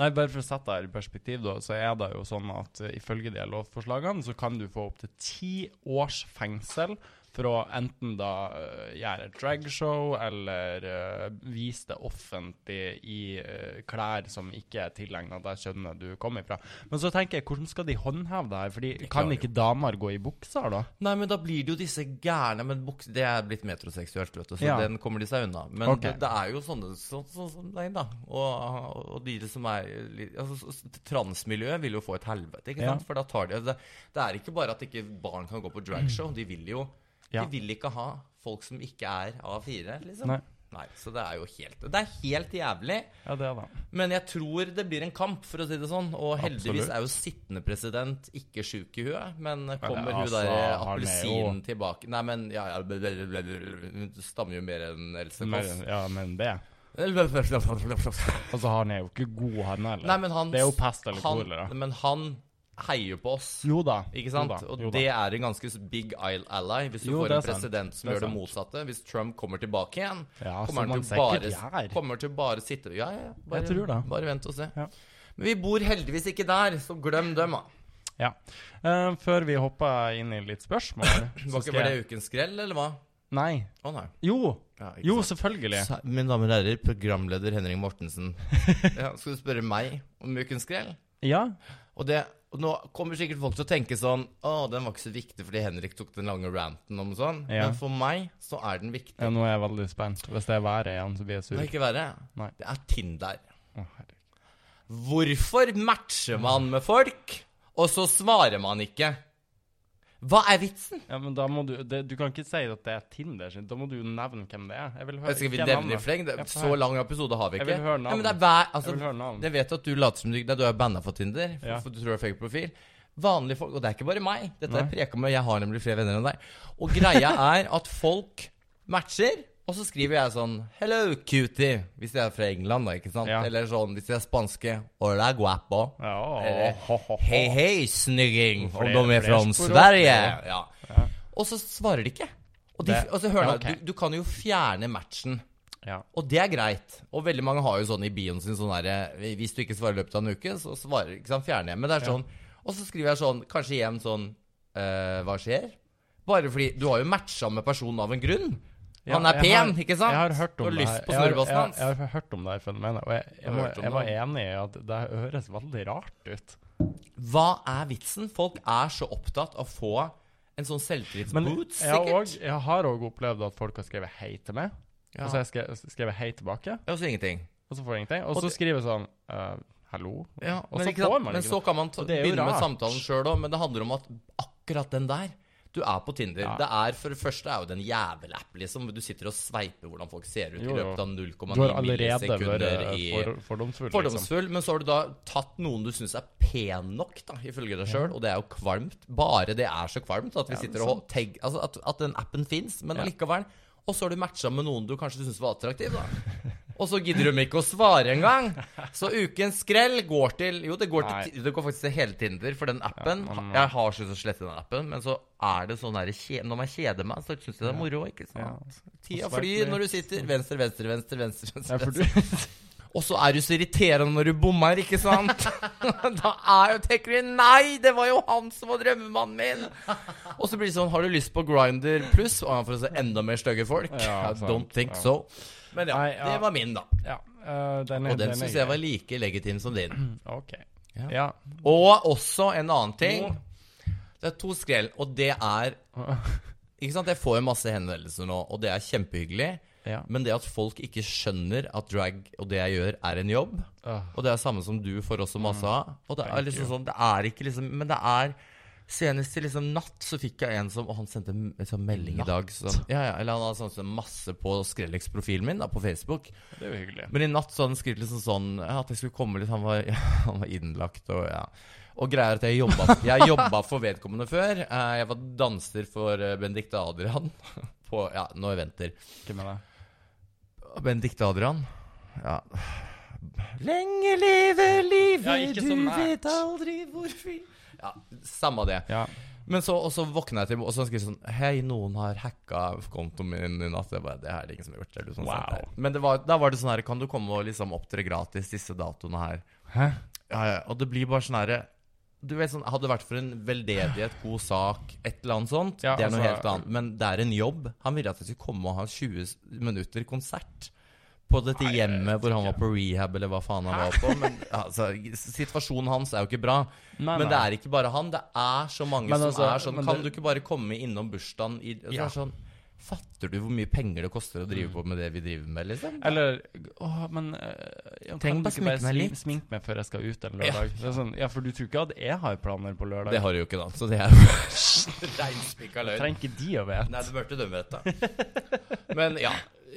Nei, bare for å sette det her i perspektiv, da, så er det jo sånn at eh, ifølge de lovforslagene så kan du få opptil ti års fengsel for å enten da eh, gjøre et dragshow eller eh, vise det offentlig i eh, klær som ikke er tilegna det kjønnet du kommer ifra. Men så tenker jeg, hvordan skal de håndheve det her? Fordi kan
klarer
ikke damer gå i bukser, da?
Nei, men da blir det jo disse gærne Men bukser Det er blitt metroseksuelt, vet du, så
Ja.
den kommer de seg unna. Men
Ok.
det, det er jo sånne så- så- som deg, da. Og, og de som er litt- altså, så- Transmiljøet vil jo få et helvete, ikke
Ja.
sant? For da tar de det, det er ikke bare at ikke barn kan gå på dragshow, de vil jo
Ja.
De vil ikke ha folk som ikke er A4, liksom.
Nei.
Nei, så det er jo helt Det er helt jævlig.
Ja, det er det.
Men jeg tror det blir en kamp, for å si det sånn. Og heldigvis
Absolutt.
er jo sittende president ikke sjuk i huet. Men kommer
Men,
hun
altså,
der
han er
appelsinen tilbake Nei, men ja, ja blablabla. Hun stammer jo mer enn Else Kåss.
Men, ja, men det.
Nei,
Altså, han er jo ikke god, han heller.
men han
det er jo pest eller
han-
kolera.
Men han heier på oss.
Jo da.
Ikke sant?
Jo da,
og
jo da.
det er en ganske big isle ally hvis du
Jo,
får
det er
en
sant.
president som
Det er
gjør det
sant.
motsatte. Hvis Trump kommer tilbake igjen,
Ja, som
kommer, han
han
til bare,
sikkert gjør.
kommer til bare sitte Ja, ja, ja, bare,
Jeg tror det.
bare vent og se.
Ja.
Men vi bor heldigvis ikke der, så glem dem, da.
Ja. Eh, før vi hopper inn i litt spørsmål så
Var
skal
ikke bare
jeg-
det ukens skrell, eller hva?
Nei.
Å nei.
Jo,
Ja, ikke
jo,
sant.
selvfølgelig.
Sa- Mine damer og herrer, programleder Henrik Mortensen. Ja, skal du spørre meg om ukens skrell?
Ja.
Og det, og nå kommer sikkert folk til å tenke sånn Å, den var ikke så viktig fordi Henrik tok den lange ranten om sånn.
Ja.
Men for meg så er den viktig.
ja. Nå er jeg veldig spent. Hvis det er været igjen, så blir jeg sur.
Det er ikke verre.
Nei.
Det er Tinder.
Å, herregud.
Hvorfor matcher man med folk, og så svarer man ikke? Hva er vitsen?
Ja, men da må Du det, Du kan ikke si at det er Tinder sin. Da må du jo nevne hvem det er. Jeg vil høre,
Jeg skal vi
ikke
nevne i
navnet.
fleng? Det-
Ja,
Så lang episode har vi
Jeg
ikke.
vil høre navn.
Nei, men det er hver,
Jeg
altså,
vil høre navn.
Jeg vet at du later som du, nei, du er banna for Tinder. For,
Ja.
for du tror du har fake profil. Vanlige folk, og det er ikke bare meg. Dette
Nei.
er preka med, Jeg har nemlig flere venner enn deg. Og greia er at folk matcher, og så skriver jeg sånn Hello, cutie. Hvis jeg er fra England, da. ikke sant?
Ja.
Eller sånn hvis jeg er spanske. Hola, guapo.
Ja, å,
Eller,
ho, ho, ho.
Hei, hei, snygging.
Flere-
Om de er fra
flere spor opp.
Sverige.
Ja.
Ja. Og så svarer de ikke. Og, de,
Det-
og så hør nå,
ja, ok.
du, du kan jo fjerne matchen.
Ja.
Og det er greit. Og veldig mange har jo sånn i bioen sin sånn derre Hvis du ikke svarer i løpet av en uke, så svarer ikke sant, fjerner jeg. Men det er sånn Og så skriver jeg sånn, kanskje igjen sånn eh, Hva skjer? Bare fordi du har jo matcha med personen av en grunn.
Ja,
Han er
jeg har-
pen, ikke sant?
Jeg har hørt om
og
det
lyst
her.
på
Jeg har-
snurrebassen
jeg-
hans.
Jeg, har hørt om det her fenomenet, og jeg, jeg,
har
må,
hørt om
jeg var
det.
enig i at det høres veldig rart ut.
Hva er vitsen? Folk er så opptatt av å få en sånn
Men
selvtillitsboot,
jeg, har
sikkert.
også- jeg har òg opplevd at folk har skrevet hei til meg,
Ja.
og så har jeg skrevet, skrevet hei tilbake,
Og så ingenting.
og så får jeg ingenting. Og
Og
så
det-
skriver jeg sånn eh, Hallo?
Ja,
Og
men,
så
ikke
får
sant?
man
men
ikke
så kan man ta,
Og det er jo
begynne med
rart.
samtalen sjøl òg, men det handler om at akkurat den der Du er på Tinder.
Ja.
Det er for det første er jo den jævelapp, liksom. Du sitter og sveiper hvordan folk ser ut
Jo, jo.
i løpet av
Du
0,9
har allerede
millisekunder
vært eh,
i
for, fordomsfull, liksom.
Fordomsfull, men så har du da tatt noen du syns er pen nok, da, ifølge deg sjøl, og det er jo kvalmt. Bare det er så kvalmt at vi sitter og tagg, altså at, at den appen fins, men allikevel. Og så har du matcha med noen du kanskje syns var attraktiv, da. Og så gidder de ikke å svare engang! Så ukens skrell går til Jo, det går,
Nei.
til, ti- det går faktisk til hele Tinder, for den appen Jeg har sluttet å slette den appen, men så er det sånn derre kje- Når man kjeder meg, så syns jeg det er moro, ikke sant?
Og
Tida
swipe
flyr
litt.
når du sitter venstre, venstre, venstre, venstre. venstre,
Ja, for
venstre.
du,
Og så er du så irriterende når du bommer, ikke sant? da er jo tenker du Nei, det var jo han som var drømmemannen min! Og så blir det sånn Har du lyst på Grinder pluss? Og han får se enda mer stygge folk.
Ja,
I Don't
sant,
think
ja.
so. Men ja,
Nei, ja.
det var min, da.
ja, eh, den er-
Og den
er
syns jeg
grei.
var like legitim som din.
OK.
Ja.
Ja.
Og også en annen ting.
Nå-
Det er to skrell, og det er Ikke sant, jeg får jo masse henvendelser nå, og det er kjempehyggelig.
Ja.
Men det at folk ikke skjønner at drag og det jeg gjør, er en jobb,
Åh.
og det er samme som du får også masse av. Og det er liksom sånn, det er ikke liksom Men det er Senest til liksom natt så fikk jeg en som Og han sendte en en sånn melding i dag. Som, ja, ja, eller han hadde sånn som masse på Skrellex-profilen min da, på Facebook.
Det er jo hyggelig.
Men i natt så hadde han skrevet liksom sånn ja, At jeg skulle komme litt Han var, ja, han var innlagt og ja Og greier at jeg jobba Jeg jobba for vedkommende før Eh, Jeg var danser for eh, Benedicte Adrian På, ja, nå jeg venter
Ikke med deg.
Benedicte Adrian Ja Lenge leve livet
Ja, ikke så
Du
nært.
vet aldri hvorfor Ja, samme det
Ja.
men så, og så våkna jeg til Og så skrev jeg sånn Hei, noen har hacka kontoen min i natt. Jeg bare, det er det ingen som har gjort. Eller sånn
Wow.
sånt der. Men det var, da var det sånn her Kan du komme og liksom opptre gratis disse datoene her?
Hæ?
Ja, ja. Og det blir bare sånn herre Du vet sånn Hadde det vært for en veldedighet, god sak, et eller annet sånt,
Ja,
det er noe
altså-
helt annet. Men det er en jobb. Han ville at jeg skulle komme og ha 20 minutter konsert. På dette hjemmet hvor han var på rehab, eller hva faen han var på. Men altså, situasjonen hans er jo ikke bra.
Nei,
Men det
nei.
er ikke bare han. Det er så mange
Men
som
altså,
er sånn
men
Kan
det-
du ikke bare komme innom bursdagen i det
Ja. Mm.
er sånn, Fatter du hvor mye penger det koster å drive på med det vi driver med, liksom?
Eller åh, men eh, ja,
Tenk
Kan du
å
ikke bare
sminke meg
smi-
litt.
sminke meg før jeg skal ut en
Ja.
lørdag? Det er sånn, ja, for du tror ikke at jeg har planer på lørdag?
Det har du jo ikke, da. Så det er jo reinspikka løgn.
Trenger ikke de å vite.
Nei, du burde dømme dette. Men ja.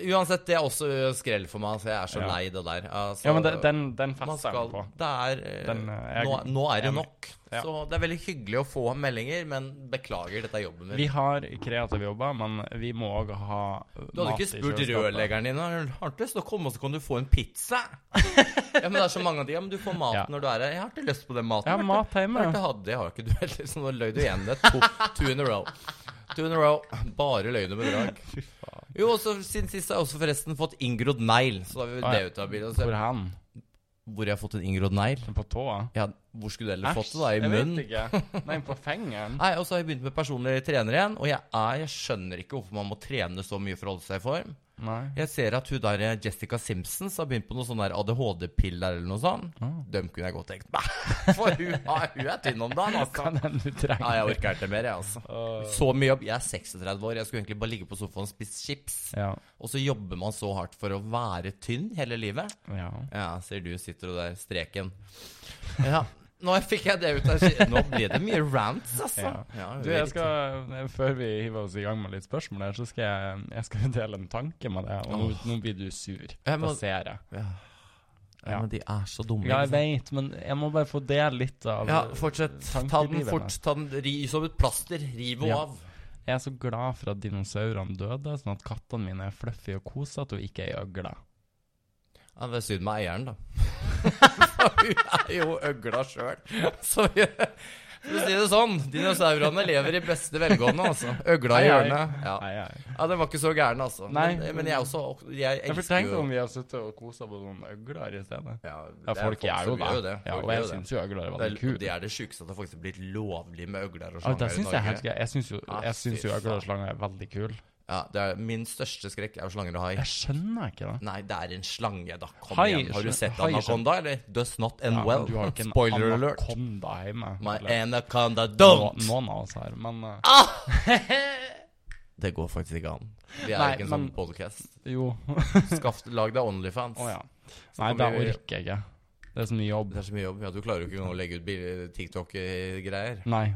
Uansett, det er også skrell for meg. Så jeg er så
Ja.
lei det der. Altså,
Ja, men den, den, den
man
fester jeg
skal,
meg på.
det er, eh,
Den, eh, jeg-
nå, nå er det
jeg-
nok.
ja.
Så det er veldig hyggelig å få meldinger, men beklager, dette er jobben min.
Vi har kreative jobber, men vi må òg ha eh,
Du hadde
mat
ikke
i
spurt
kjøleskapet.
rørleggeren din Har du lyst til å komme, så kan du få en pizza? ja, men det er så mange av de. Ja, men du får mat
Ja.
når du er her. Jeg har ikke lyst på den maten.
Jeg har mat hjemme.
Hørte hadde, jeg har ikke du heller, så nå løy du igjen. Det er to, two in a row. Two in a row. Bare løgn og bedrag.
Fy faen.
Jo, og så siden sist har jeg også forresten fått inngrodd negl. Så da har vi
Ah, ja.
det ut av bildet.
Hvor
Så
hen?
hvor jeg har fått en inngrodd negl.
På tåa?
Ja, hvor skulle du ellers fått
Æsj,
det, da? I munnen?
Jeg vet ikke. Nei, på fingeren.
Nei, og så har jeg begynt med personlig trener igjen, og jeg, er, jeg skjønner ikke hvorfor man må trene så mye for å holde seg i form.
Nei.
Jeg ser at hun der eh, Jessica Simpsons har begynt på noen sånne der ADHD-piller eller noe sånt.
Ah.
Dem kunne jeg godt tenkt meg. For hun, er- hun er tynn om dagen, altså.
Kan Ah. den du trenger?
Nei, jeg orker ikke mer, jeg, altså. Så mye jobb. Jeg er 36 år, jeg skulle egentlig bare ligge på sofaen og spise chips.
Ja.
Og så jobber man så hardt for å være tynn hele livet.
ja.
Ja, ser du sitter du der, streken. Ja, nå fikk jeg det ut av ski- Nå blir det mye rants, altså.
Ja.
Ja,
Du, jeg skal, eh, Før vi hiver oss i gang med litt spørsmål, her, så skal jeg, jeg skal dele en tanke med deg. Og nå, nå blir du sur.
Jeg må-
Det ser jeg.
ja. ja, men de er så dumme.
Ja,
ikke
jeg
sant?
vet, men jeg må bare få dele litt av
ja fortsett. Ta den
tankelivet
fort. Ta den ri, som et plaster. Riv henne
Ja.
av.
Jeg er så glad for at dinosaurene døde, sånn at kattene mine er fluffy og kosete og ikke ei øgle.
Ja, det er synd med eieren, da. For hun er jo øgla sjøl. Så vi- for å si det sånn, dinosaurene lever i beste velgående, altså.
Ei,
Øgla i
ei.
hjørnet. Ja.
Nei, jeg,
ja, den var ikke så gæren, altså.
Nei.
Men, men jeg også Jeg
jeg
elsker
fortenkte
jo
om vi har sittet og kosa på noen øgler i stedet.
ja,
Ja,
det
folk er jo
som gjør
det. Ja,
Folk
og
gjør
jeg
jo det.
syns jo øgler er
Det
veldig
er,
kult.
det er det sjukeste at det faktisk er blitt lovlig med øgler og
Ja,
slanger
det
i
syns jeg er
Norge.
helt greit. Jeg syns jo,
Ah,
jeg synes jo
fy
øgler og slanger er veldig kul.
Ja, det er Min største skrekk er jo slanger og hai.
Jeg skjønner ikke det.
Nei, det er en slange, da. Kom
Hai
igjen. Har du
skjøn-
sett
hai skjøn-
anakonda, eller? Does not end
Ja, men
well.
du har jo ikke en
Spoiler alert.
anakonda hjemme.
My Ah.
eller
anaconda
no-
don't!
Noen av oss her, men eh,
Det går faktisk ikke an. Vi er
Nei,
ikke en sånn
men-
podcast.
jo.
Skaff, lag deg Onlyfans.
Å ja. Nei,
kan
det
vi-
orker jeg ikke. Det er så mye jobb.
Det er så mye jobb. Ja, du klarer jo ikke engang å legge ut bil- TikTok-greier.
Nei.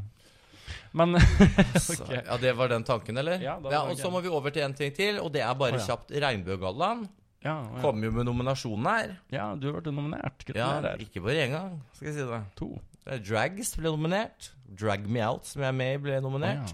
Men
Så-
Ok.
Ja, Det var den tanken, eller?
Ja, det var
og
tanken.
Så må vi over til en ting til, og det er bare
Å, ja.
kjapt. Regnbuegallaen
ja, ja.
kom jo med nominasjonen her.
ja, du ble nominert.
Ja,
Gratulerer.
ikke bare én gang, skal jeg si det.
To.
Det er Drags ble nominert. Drag Me Out, som jeg er med i, ble nominert.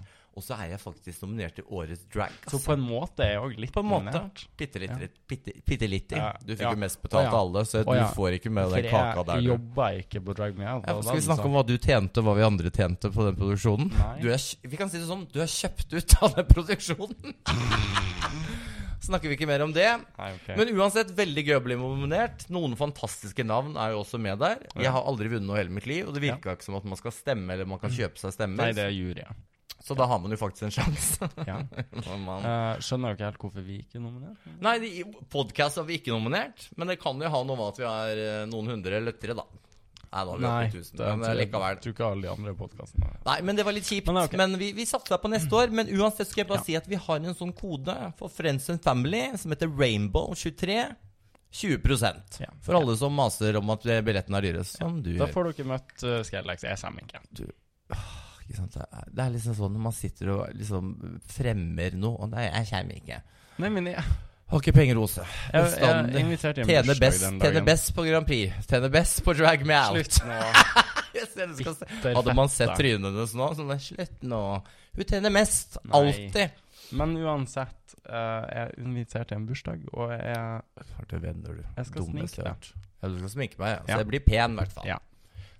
Å, ja.
Og så er jeg faktisk nominert til Årets drag.
Så på en måte er jeg òg litt
På en måte.
nominert.
Bitte litt,
Ja.
litt, bitte, bitte litt. i.
Ja.
Du fikk
Ja.
jo mest betalt
Å, ja.
av alle, så
Å, ja.
du får ikke med
For
deg kaka der.
jeg
du.
jobba ikke på Drag Me Out.
Ja, skal vi snakke om hva du tjente, og hva vi andre tjente på den produksjonen?
altså. sånn, Nei.
Du er, kj- vi kan si det sånn, du er kjøpt ut av den produksjonen. Snakker vi ikke mer om det.
Nei, ok.
Men uansett, veldig gøy å bli nominert. Noen fantastiske navn er jo også med der. Jeg har aldri vunnet noe hele mitt liv, og det virka ikke som at man skal stemme, eller man kan kjøpe
Mm. Nei,
seg stemmer.
det er juryen.
Så da har man jo faktisk en sjanse.
Ja.
Når man-
Eh, skjønner jo ikke helt hvorfor vi ikke er nominert.
Nei, podkast har vi ikke nominert, men det kan jo ha noe med at vi er eh, noen hundre løttere, da. Nei, da har vi oppe i tusen, men eh, likevel.
Tror ikke alle de andre podkastene
Nei, men det var litt kjipt.
Men
Men,
det er ok.
vi, vi satser på neste år. Men uansett skal jeg bare
Ja.
si at vi har en sånn kode for Friends and Family som heter Rainbow23. 20
Ja.
For alle som maser om at billettene er dyre. Som du
Da
gjør.
får dere møtt uh, Skrellex. Jeg kommer ikke.
Ikke sant? Det er- Det er liksom sånn når man sitter og liksom fremmer noe Og nei, jeg kommer ikke.
Nei, men jeg,
Har ikke penger, Ose.
jeg, jeg,
Bestandig.
jeg inviterte i en
Tjener
bursdag
best,
den
tjener
dagen.
best på Grand Prix. Tjener best på Drag Me Out.
Slutt nå.
Jeg ser det skal se-
Bitter
Hadde man sett
fette.
trynene hennes nå, så var det slutt nå. Hun tjener mest.
Nei.
Alltid.
Men uansett, eh, jeg inviterte i en bursdag, og jeg
Klarte venner, du.
Jeg skal Dummeste jeg har sminke deg.
Ja, du skal sminke meg, ja. Så
Ja.
jeg blir pen, i hvert fall.
Ja.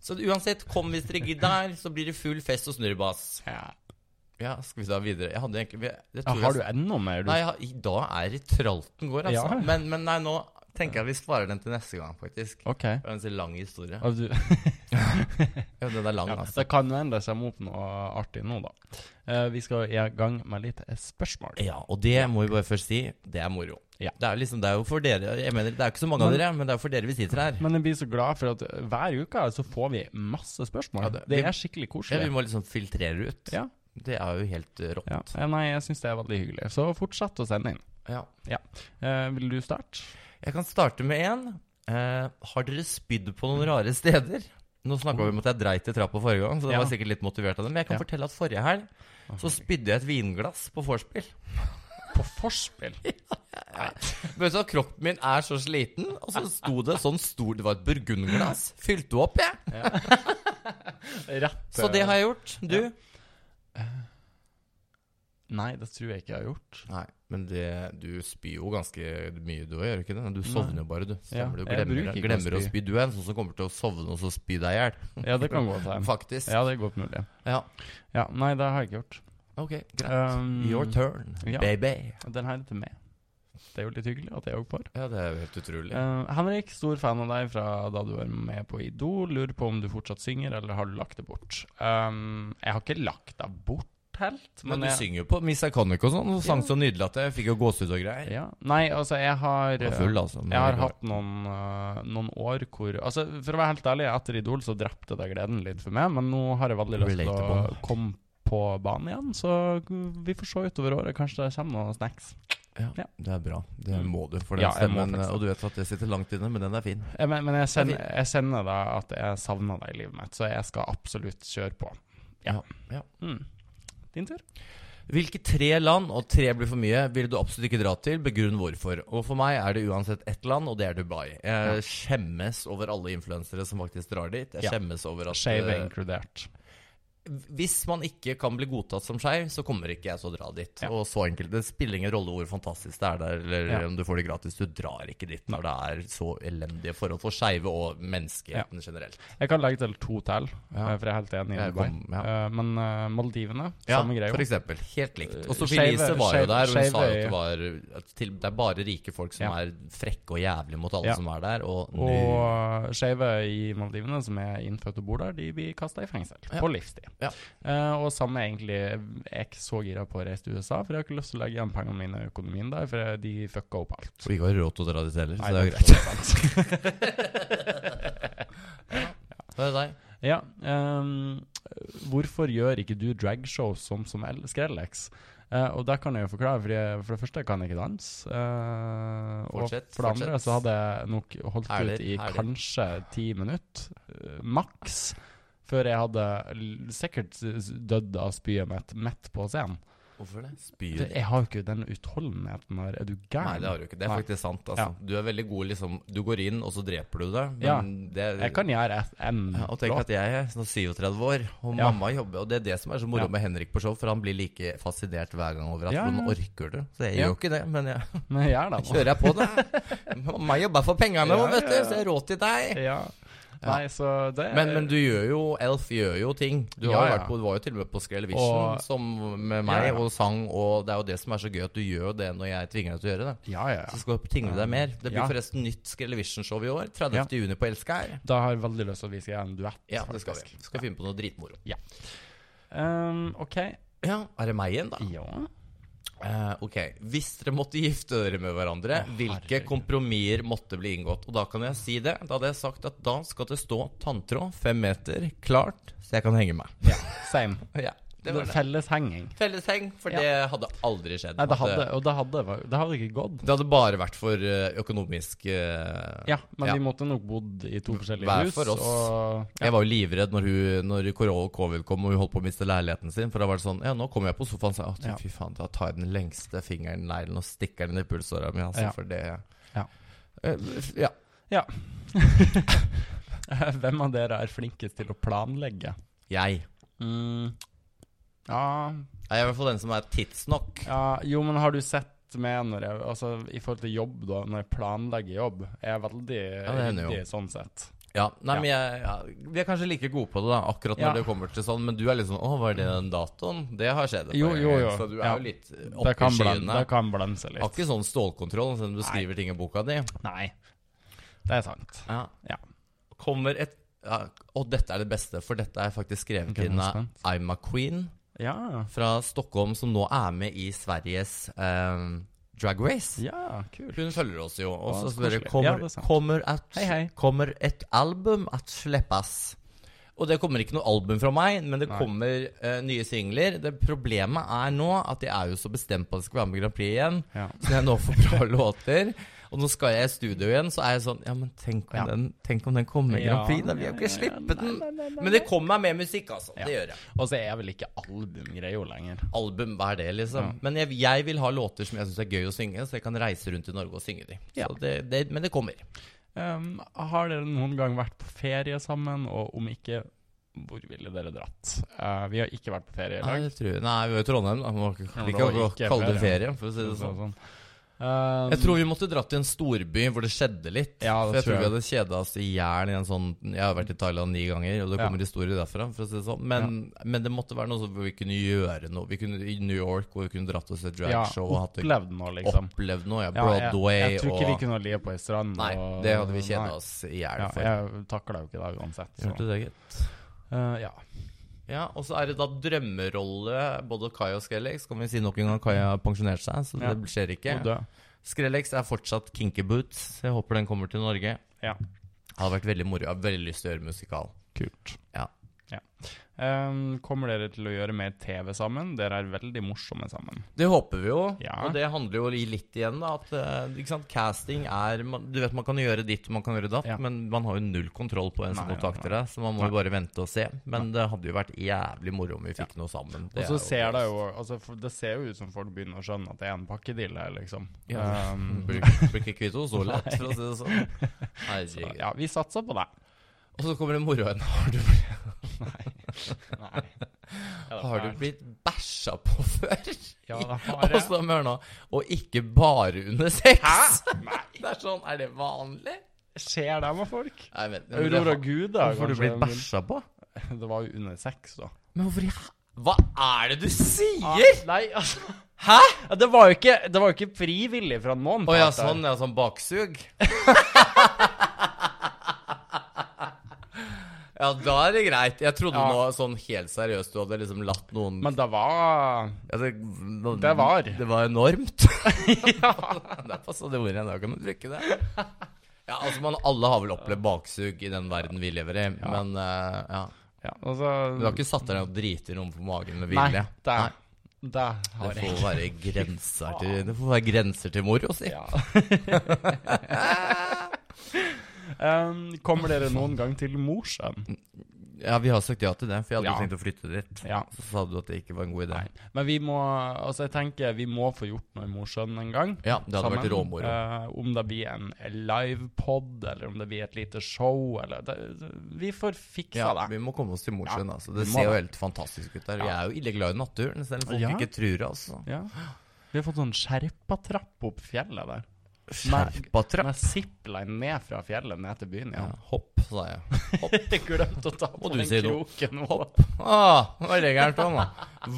Så uansett, kom hvis dere gidder, så blir det full fest og snurrebass. Ja, skal vi da videre? Jeg hadde egentlig jeg
Ja,
tror
Har du
jeg,
enda mer? Du?
Nei, jeg, har- i dag er det tralten går, altså.
Ja.
Men, men nei, nå tenker jeg vi sparer den til neste gang, faktisk.
OK.
Det er en så lang historie.
Og du,
Ja, den er lang,
ja,
altså.
det kan jo hende det kommer opp noe artig nå, da. Eh, vi skal i gang med litt eh, spørsmål.
Ja, og det må vi bare først si, det er moro.
Ja.
Det er jo liksom, det er jo for dere, jeg mener, det er jo ikke så mange av
Men-
dere, men det er jo for dere vi sitter her.
Men jeg blir så glad for at hver uke så får vi masse spørsmål.
Ja,
det,
det-
er skikkelig
Ja, vi
koselig.
må liksom filtrere ut.
Ja.
Det er jo helt eh, rått.
Ja. Eh, Nei, jeg syns det er veldig hyggelig. Så fortsett å sende inn.
ja.
Eh, vil du starte?
Jeg kan starte med en. Eh, har dere spydd på noen rare steder? Nå snakka vi om at jeg dreit i trappa forrige gang, så det
Ja.
var sikkert litt motivert av det. Men jeg kan
Ja.
fortelle at forrige helg så spydde jeg et vinglass på vorspiel.
På forspill?
Vet du hva, Kroppen min er så sliten, og så sto det sånn stor Det var et burgundglass. Fylte opp, jeg.
Rett eh,
Så det har jeg gjort. Du?
Nei, det tror jeg ikke jeg har gjort.
Nei, men du spyr jo ganske mye, du òg, gjør du ikke det? Du
sovner
sovner bare, du.
Ja, Stemmer, du
du
jeg glemmer-
glemmer,
bruker ikke glemmer å
å
å spy.
spy. Du er en sånn som kommer til å sovne og så spy deg i hjel.
Ja, det kan godt hende.
Faktisk.
Ja, det er godt mulig.
Ja.
Ja, nei, det har jeg ikke gjort.
Ok, greit.
Um,
Your turn,
ja.
baby.
Den her er til meg. Det er jo litt hyggelig at jeg òg får.
Ja, det er jo helt utrolig.
Eh, Henrik, stor fan av deg fra da du var med på Idol. Lurer på om du fortsatt synger, eller har du lagt det bort? Um, jeg har ikke lagt det bort helt.
Men du
jeg,
synger jo på Miss Iconic og sånn, og sang så nydelig at jeg fikk jo gåsehud og greier.
Ja. Nei, altså, jeg har
Jeg var full, altså. men
Jeg har
det går.
hatt noen, øh, noen år hvor Altså, For å være helt ærlig, etter Idol så drepte det gleden litt for meg, men nå har jeg veldig lyst til å
Relatable.
komme på banen igjen, så vi får se utover året. Kanskje det kommer noen snacks. Ja.
ja, det er bra. Det
Mm.
må du for den
Ja, jeg må
stemmen. eh,
faktisk det.
Og du vet at det sitter langt inne, men den er fin.
Eh, Men, men jeg,
er
sender, jeg sender deg at jeg savner deg i livet mitt, så jeg skal absolutt kjøre på. Ja.
Ja.
Mm. Din tur.
Hvilke tre land, og tre blir for mye, ville du absolutt ikke dra til? Begrunn hvorfor. Og for meg er det uansett ett land, og det er Dubai. Jeg skjemmes over alle influensere som faktisk drar dit. Jeg
Ja.
skjemmes over at
Skeive
eh,
inkludert.
Hvis man ikke kan bli godtatt som skeiv, så kommer ikke jeg til å dra dit.
Ja.
Og så enkelt. Det spiller ingen rolle hvor fantastisk det er der, eller
Ja.
om du får det gratis. Du drar ikke dit når det er så elendige forhold for skeive og menneskeheten generelt.
Jeg kan legge til to til,
Ja.
eh, for jeg er helt enig i
Jeg
Dubai.
kom- ja.
Eh, Men eh, Maldivene,
Ja,
samme greia.
for eksempel. Helt likt. Og
Skeive-
Sophie Elise var
skeive-
jo der, og hun sa jo
skeive-
at det, var, at til, det er bare rike folk som
Ja.
er frekke og jævlige mot alle
Ja.
som er der. Og, nu-
Og skeive i Maldivene som er innfødt og bor der, de blir kasta i fengsel
Ja.
på livstid.
Ja.
Eh, og samme egentlig Jeg er ikke så gira på å reise til USA, for jeg har ikke lyst til å legge igjen pengene mine i økonomien der, for jeg- de fucka opp alt.
og vi ikke har råd til å dra dit heller,
Nei,
så det er
det
jo
er
greit. Det er deg.
Ja, ehm, hvorfor gjør ikke du dragshow som, som El- Skrellex? Eh, og det kan jeg jo forklare, fordi jeg, for det første kan jeg ikke danse. eh,
Fortsett,
og for det andre
fortsett.
så hadde jeg nok holdt
Hæler,
ut i
hæler.
kanskje ti minutter, eh, maks, før jeg hadde l- sikkert s- s- dødd av spyet mitt midt på scenen.
Hvorfor det?
For
Spyr.
Jeg har jo ikke den utholdenheten her. Er du
Nei, det
gæren?
har du ikke. Det er
Nei.
faktisk sant. Altså.
Ja.
Du er veldig god liksom Du går inn, og så dreper du det. Men
Ja.
det
Jeg kan gjøre et- en
ja, og tenk
låt.
at jeg er sånn 37 år, og
Ja.
mamma jobber. Og det er det som er så moro
Ja.
med Henrik på show, for han blir like fascinert hver gang over at
Ja, ja,
hvordan
ja.
orker du? Så jeg
Ja.
gjør jo ikke det, men jeg
Men jeg gjør det nå.
kjører jeg på det. Mamma jobber for pengene,
Ja,
vet du,
ja, ja.
så jeg har råd til deg.
Ja. Nei, så det
Men, men du gjør jo Elf gjør jo ting. Du,
Ja,
har jo
ja.
vært på, du var jo til og med på Skrellevision
Og-
som med meg,
Ja, ja.
og sang, og det er jo det som er så gøy, at du gjør jo det når jeg tvinger deg til å gjøre det.
Ja, ja, ja.
Så skal du tingle deg mer. Det blir
Ja.
forresten nytt Skrellevision-show i år. 30. juni på Elskar.
Da har jeg veldig lyst til at vi skal gjøre en duett.
Ja, det skal vi.
faktisk.
Skal finne på noe dritmoro.
Ehm, OK.
Ja, er det meg igjen, da?
Ja.
Eh, ok. Hvis dere måtte gifte dere med
Å,
hverandre, hvilke
herregud.
kompromisser måtte bli inngått? Og da kan jeg si det. Da hadde jeg sagt at da skal det stå tanntråd fem meter klart, så jeg kan henge meg.
Same.
Ja, det var det.
Felleshenging.
Fellesheng, for
Ja.
det hadde aldri skjedd.
Nei, det
At,
hadde,
eh,
og det hadde, det hadde ikke gått.
det hadde bare vært for eh, økonomisk eh,
Ja, men
Ja.
vi måtte nok bodd i to forskjellige
Hver
hus.
for oss.
Og, ja.
Jeg var jo livredd når, hun, når kor- covid kom og hun holdt på å miste leiligheten sin. For da var det sånn Ja, nå kommer jeg på sofaen og sier
Ja.
Å, fy faen, da tar jeg den lengste fingeren neglen og stikker den i pulsåra mi, altså,
Ja.
for det
Ja.
Eh, ja.
Hvem av dere er flinkest til å planlegge?
Jeg.
Mm. Ja,
Jeg er i hvert fall den som er tidsnok.
ja Jo, men har du sett med når jeg, altså, I forhold til jobb, da, når jeg planlegger jobb, er jeg veldig
det hender jo.
ryddig sånn sett.
Ja. Nei,
Ja.
men jeg ja, Vi er kanskje like gode på det, da, akkurat når
Ja.
det kommer til sånn, men du er liksom Å, var det den datoen? Det har skjedd. et
Jo,
par
jo,
ganger,
jo.
Så du er
Ja.
jo litt
Det
oppe i
kan, blend,
skyene.
det kan blense
Har
litt.
ikke sånn stålkontroll selv om du skriver ting i boka di.
Nei, det er sant.
Ja.
Ja.
Kommer et ja, Og dette er det beste, for dette er faktisk skrevet
Ok, nå er jeg
inn av
spent.
I'm a Queen
Ja,
fra Stockholm, som nå er med i Sveriges eh, Drag Race.
ja kult.
Hun følger oss jo. Og
Å,
så
så
spør jeg
koselig. Ja,
kommer,
det er sant.
kommer, et,
Hei, hei.
kommer et album at slippes. Og det kommer ikke noe album fra meg, men det
Nei.
kommer eh, nye singler. Det Problemet er nå at jeg er jo så bestemt på at jeg skal være med i Grand Prix igjen.
Ja.
Så jeg nå får bra låter. Og nå skal jeg i studio igjen, så er jeg sånn Ja, men tenk om,
Ja.
den, tenk om den kommer i Grand Prix. Da vil jeg jo ikke slippe den. Men det kommer meg mer musikk, altså.
Ja.
Det gjør jeg.
Og så er jeg vel ikke albumgreia lenger.
Album, hva er det, liksom? Men jeg, jeg vil ha låter som jeg syns er gøy å synge, så jeg kan reise rundt i Norge og synge de.
Ja.
Så det, det, men det kommer.
Um, har dere noen gang vært på ferie sammen, og om ikke, hvor ville dere dratt? Eh, vi har ikke vært på ferie i
Nei,
dag.
det tror jeg. Nei, vi var i Trondheim, da. Vi må ikke-
Ja, men
vi
det var
kan ikke
ikke
kalle det
ferie.
ferie, for å si det
Så
sånn.
sånn.
Um,
Jeg tror vi måtte dra til en storby hvor det skjedde litt.
Ja,
for
det
jeg tror
tror
vi
jeg.
hadde kjeda oss i hjel i en sånn Jeg har vært i Thailand ni ganger, og det
Ja.
kommer historier derfra. For å si det sånn. men, men det måtte være noe som hvor vi kunne gjøre noe. Vi kunne I New York hvor vi kunne dratt oss til et
Ja,
dragshow og hatt det,
opplevd noe, liksom.
opplevd noe. Ja,
Ja, jeg,
Broadway
jeg tror ikke vi
og
kunne ligge på ei strand.
Nei,
og-
det hadde vi kjeda
Nei.
oss i hjel
Ja,
for.
jeg takla jo ikke det uansett. Så.
Hørte det, gitt.
Eh, ja.
Ja, og så er det da drømmerolle både Kai og Skrellex. Kan vi si nok en gang Kai har pensjonert seg, så
Ja.
det skjer ikke.
Og dø.
Skrellex er fortsatt Kinky Boots. Jeg håper den kommer til Norge.
Ja.
Det hadde vært veldig moro. Jeg har veldig lyst til å gjøre musikal.
Kult.
Ja.
Ja. Eh, kommer dere til å gjøre mer TV sammen? Dere er veldig morsomme sammen.
Det håper vi jo,
Ja.
og det handler jo litt igjen da at eh, ikke sant? casting er man, Du vet man kan gjøre ditt og man kan gjøre datt,
Ja.
men man har jo null kontroll på hvem som
Nei, nei,
kontakter deg, så man må jo bare vente og se. Men det hadde jo vært jævlig moro om vi fikk noe sammen.
Og
er
så
jo-
ser det jo altså, for Det ser jo ut som folk begynner å skjønne at det er en pakkedille, liksom.
Ja.
Um,
Blir blir ikke kvitt henne så lett, for å si det sånn. Herregud.
ja, vi satser på det.
Og så kommer det moro en. Har du,
Nei. Ja, det
har
er-
du blitt bæsja på før?
Ja, det har
Og
jeg.
så hør nå. Og ikke bare under sex.
Hæ? Nei,
Det er sånn, er det vanlig?
skjer det med folk?
Nei, men, men det-
Aurora Gud, da.
Hvorfor har du
kanskje,
blitt
men-
bæsja på?
Det var jo under seks, da.
Men hvorfor i h- Hva er det du sier?!
Nei, altså
Hæ?!
ja, Det var jo ikke, det var jo ikke frivillig fra noen
Å ja,
part der.
sånn. Ja, sånn baksug. Ja, da er det greit. Jeg trodde
Ja.
nå sånn helt seriøst du hadde liksom latt noen
Men det var
Ja, det,
Det var.
Det var enormt. det er passa det ordet. Da kan man bruke det. Ja, altså man, Alle har vel opplevd baksug i den verden vi lever i, men eh, ja.
Ja, altså
Du har ikke satt deg ned og driti noen på magen med
Nei,
vilje?
det, det
Nei,
har
Det
jeg.
får være grenser til Det får være grenser til moro, si.
Ja. um, kommer dere noen gang til Mosjøen?
Ja, vi har sagt ja til det, for jeg hadde
Ja.
jo tenkt å flytte dit.
Ja.
Så sa du at det ikke var en god idé.
Nei. Men vi må Altså, jeg tenker vi må få gjort noe i Mosjøen en gang.
Ja, det hadde vært
sammen.
råmoro.
Eh, om det blir en livepod, eller om det blir et lite show, eller det, Vi får fiksa
Ja,
det.
vi må komme oss til Mosjøen. Altså.
vi
Det
må
ser jo
det.
helt fantastisk ut der.
Ja.
Jeg er jo ille glad i naturen, selv om folk
Ja.
ikke tror det. Altså.
Ja. Vi har fått sånn skjerpatrapp opp fjellet der.
Skjerpatrapp.
Med zipline ned fra fjellet ned til byen
Ja,
igjen.
hopp, sa jeg.
Jeg glemte å ta på
Må du
den
si noe?
kroken. nå.
Ah, hva legger den på, da?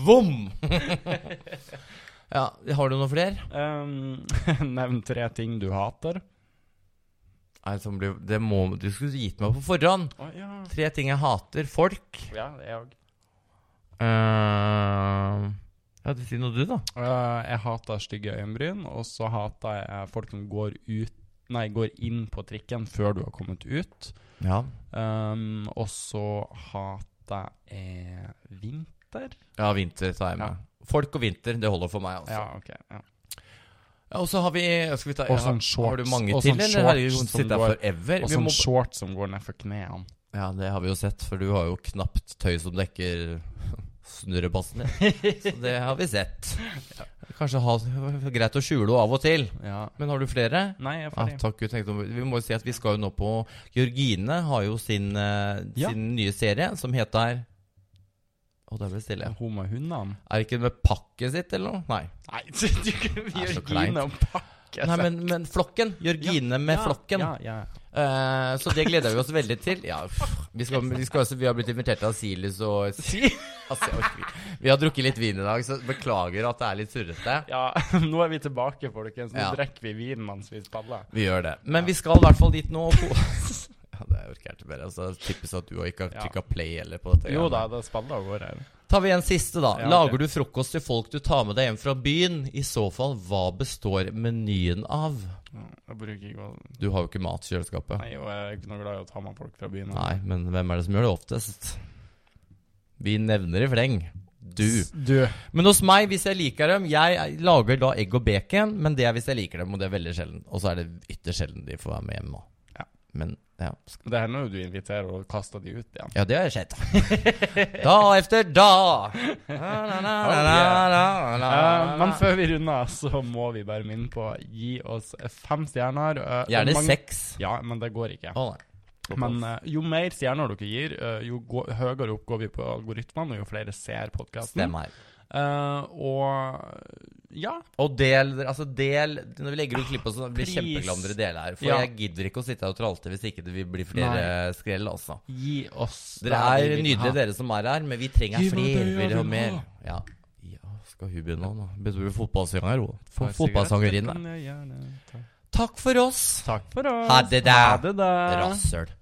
Vom! ja, har du noen flere?
Um, nevn tre ting du hater.
Nei, sånn blir, det må, du skulle gitt meg på forhånd.
Å ja.
Tre ting jeg hater. Folk.
ja, det er jeg òg.
Uh, ja, du sier noe du, da.
Eh, jeg hater stygge øyenbryn, og så hater jeg folk som går ut Nei, går inn på trikken før du har kommet ut.
Ja.
Um, og så hater jeg vinter.
ja, vinter tar jeg med. Folk og vinter, det holder for meg, altså.
Ja,
Ja.
ok. Ja.
og så har vi Skal vi ta
Og sånn
Har du
shorts-
mange
og
til,
sånn
eller? Herregud,
shorts som
sitter jeg
går-
forever?
Og
Vi
sånn
må,
shorts som går nedfor knærne.
ja, det har vi jo sett, for du har jo knapt tøy som dekker snurrebassen din. Så det har vi sett. Kanskje ha, greit å skjule henne av og til.
Ja.
Men har du flere?
Nei, jeg er
Ja,
ferdig.
takk, Gud, tenkte om- vi må jo si at vi skal jo nå på Jørgine har jo sin, eh,
Ja.
sin nye serie som heter Å, der ble det stille.
Hun med hundene?
Er det ikke med pakket sitt eller noe? Nei.
Nei, du kan
Det er så kleint.
Jørgine og pakke
Nei, men, men flokken. Jørgine med flokken.
Ja, ja.
Eh, så det gleder vi oss veldig til. Ja, pff, vi, skal, vi, skal, også- vi har blitt invitert av Silis og altså, jeg orker ikke. Vi har drukket litt vin i dag, så beklager at det er litt surrete.
ja. Nå er vi tilbake, folkens. Nå
Ja.
drikker vi vin mens vi spiller.
Vi gjør det. Men vi skal i hvert fall dit nå. og ko- Ja, det orker jeg ikke mer. Altså, Typisk at du ikke har
Ja.
trykka play heller på dette.
Jo
greiene.
da, det spiller og går her.
Tar vi en siste, da.
Ja, ok.
Lager du frokost til folk du tar med deg hjem fra byen? I så fall, hva består menyen av?
Jeg bruker ikke å
Du har jo ikke mat i kjøleskapet. Nei.
Nei, og jeg er ikke noe glad i å ta med folk fra byen.
men hvem er det som gjør det oftest? Vi nevner i fleng. Du.
Du.
Men hos meg, hvis jeg liker dem Jeg lager da egg og bacon, men det er hvis jeg liker dem, og det er veldig sjelden. Og så er det ytterst sjelden de får være med hjem nå.
Ja.
Men ja,
Det hender jo du inviterer og kaster de ut igjen.
ja det har jeg sett. da efter da. Na, na, na, na, na, na, na.
Eh, men før vi runder, så må vi bare minne på gi oss fem stjerner. eh, og
Gjerne
mange-
seks.
Ja, men det går ikke.
Å, nei.
Men eh, jo mer stjerner dere gir, eh, jo gå- høyere opp går vi på algoritmene, og jo flere ser podkasten.
Stemmer.
Eh, og ja,
Og del, altså del Når vi legger ut klipp, og sånn, blir
please.
kjempeglad om dere deler her. For
Ja.
jeg gidder ikke å sitte her og tralte hvis ikke det vil bli flere
Nei.
skrell. Altså.
gi oss
Dere
det
er
vi vil
nydelige,
ha.
dere som er her, men vi trenger
Gi meg det
flere
jeg vil
og mer.
ha.
Ja. ja, skal hun begynne nå? Begynner du fotballsanger òg?
Ta en sigarett,
Fotballsangerinne.
kan jeg gjerne ta.
Takk for oss,
Takk for oss.
Ha det da.
Ha det da.
rasshøl.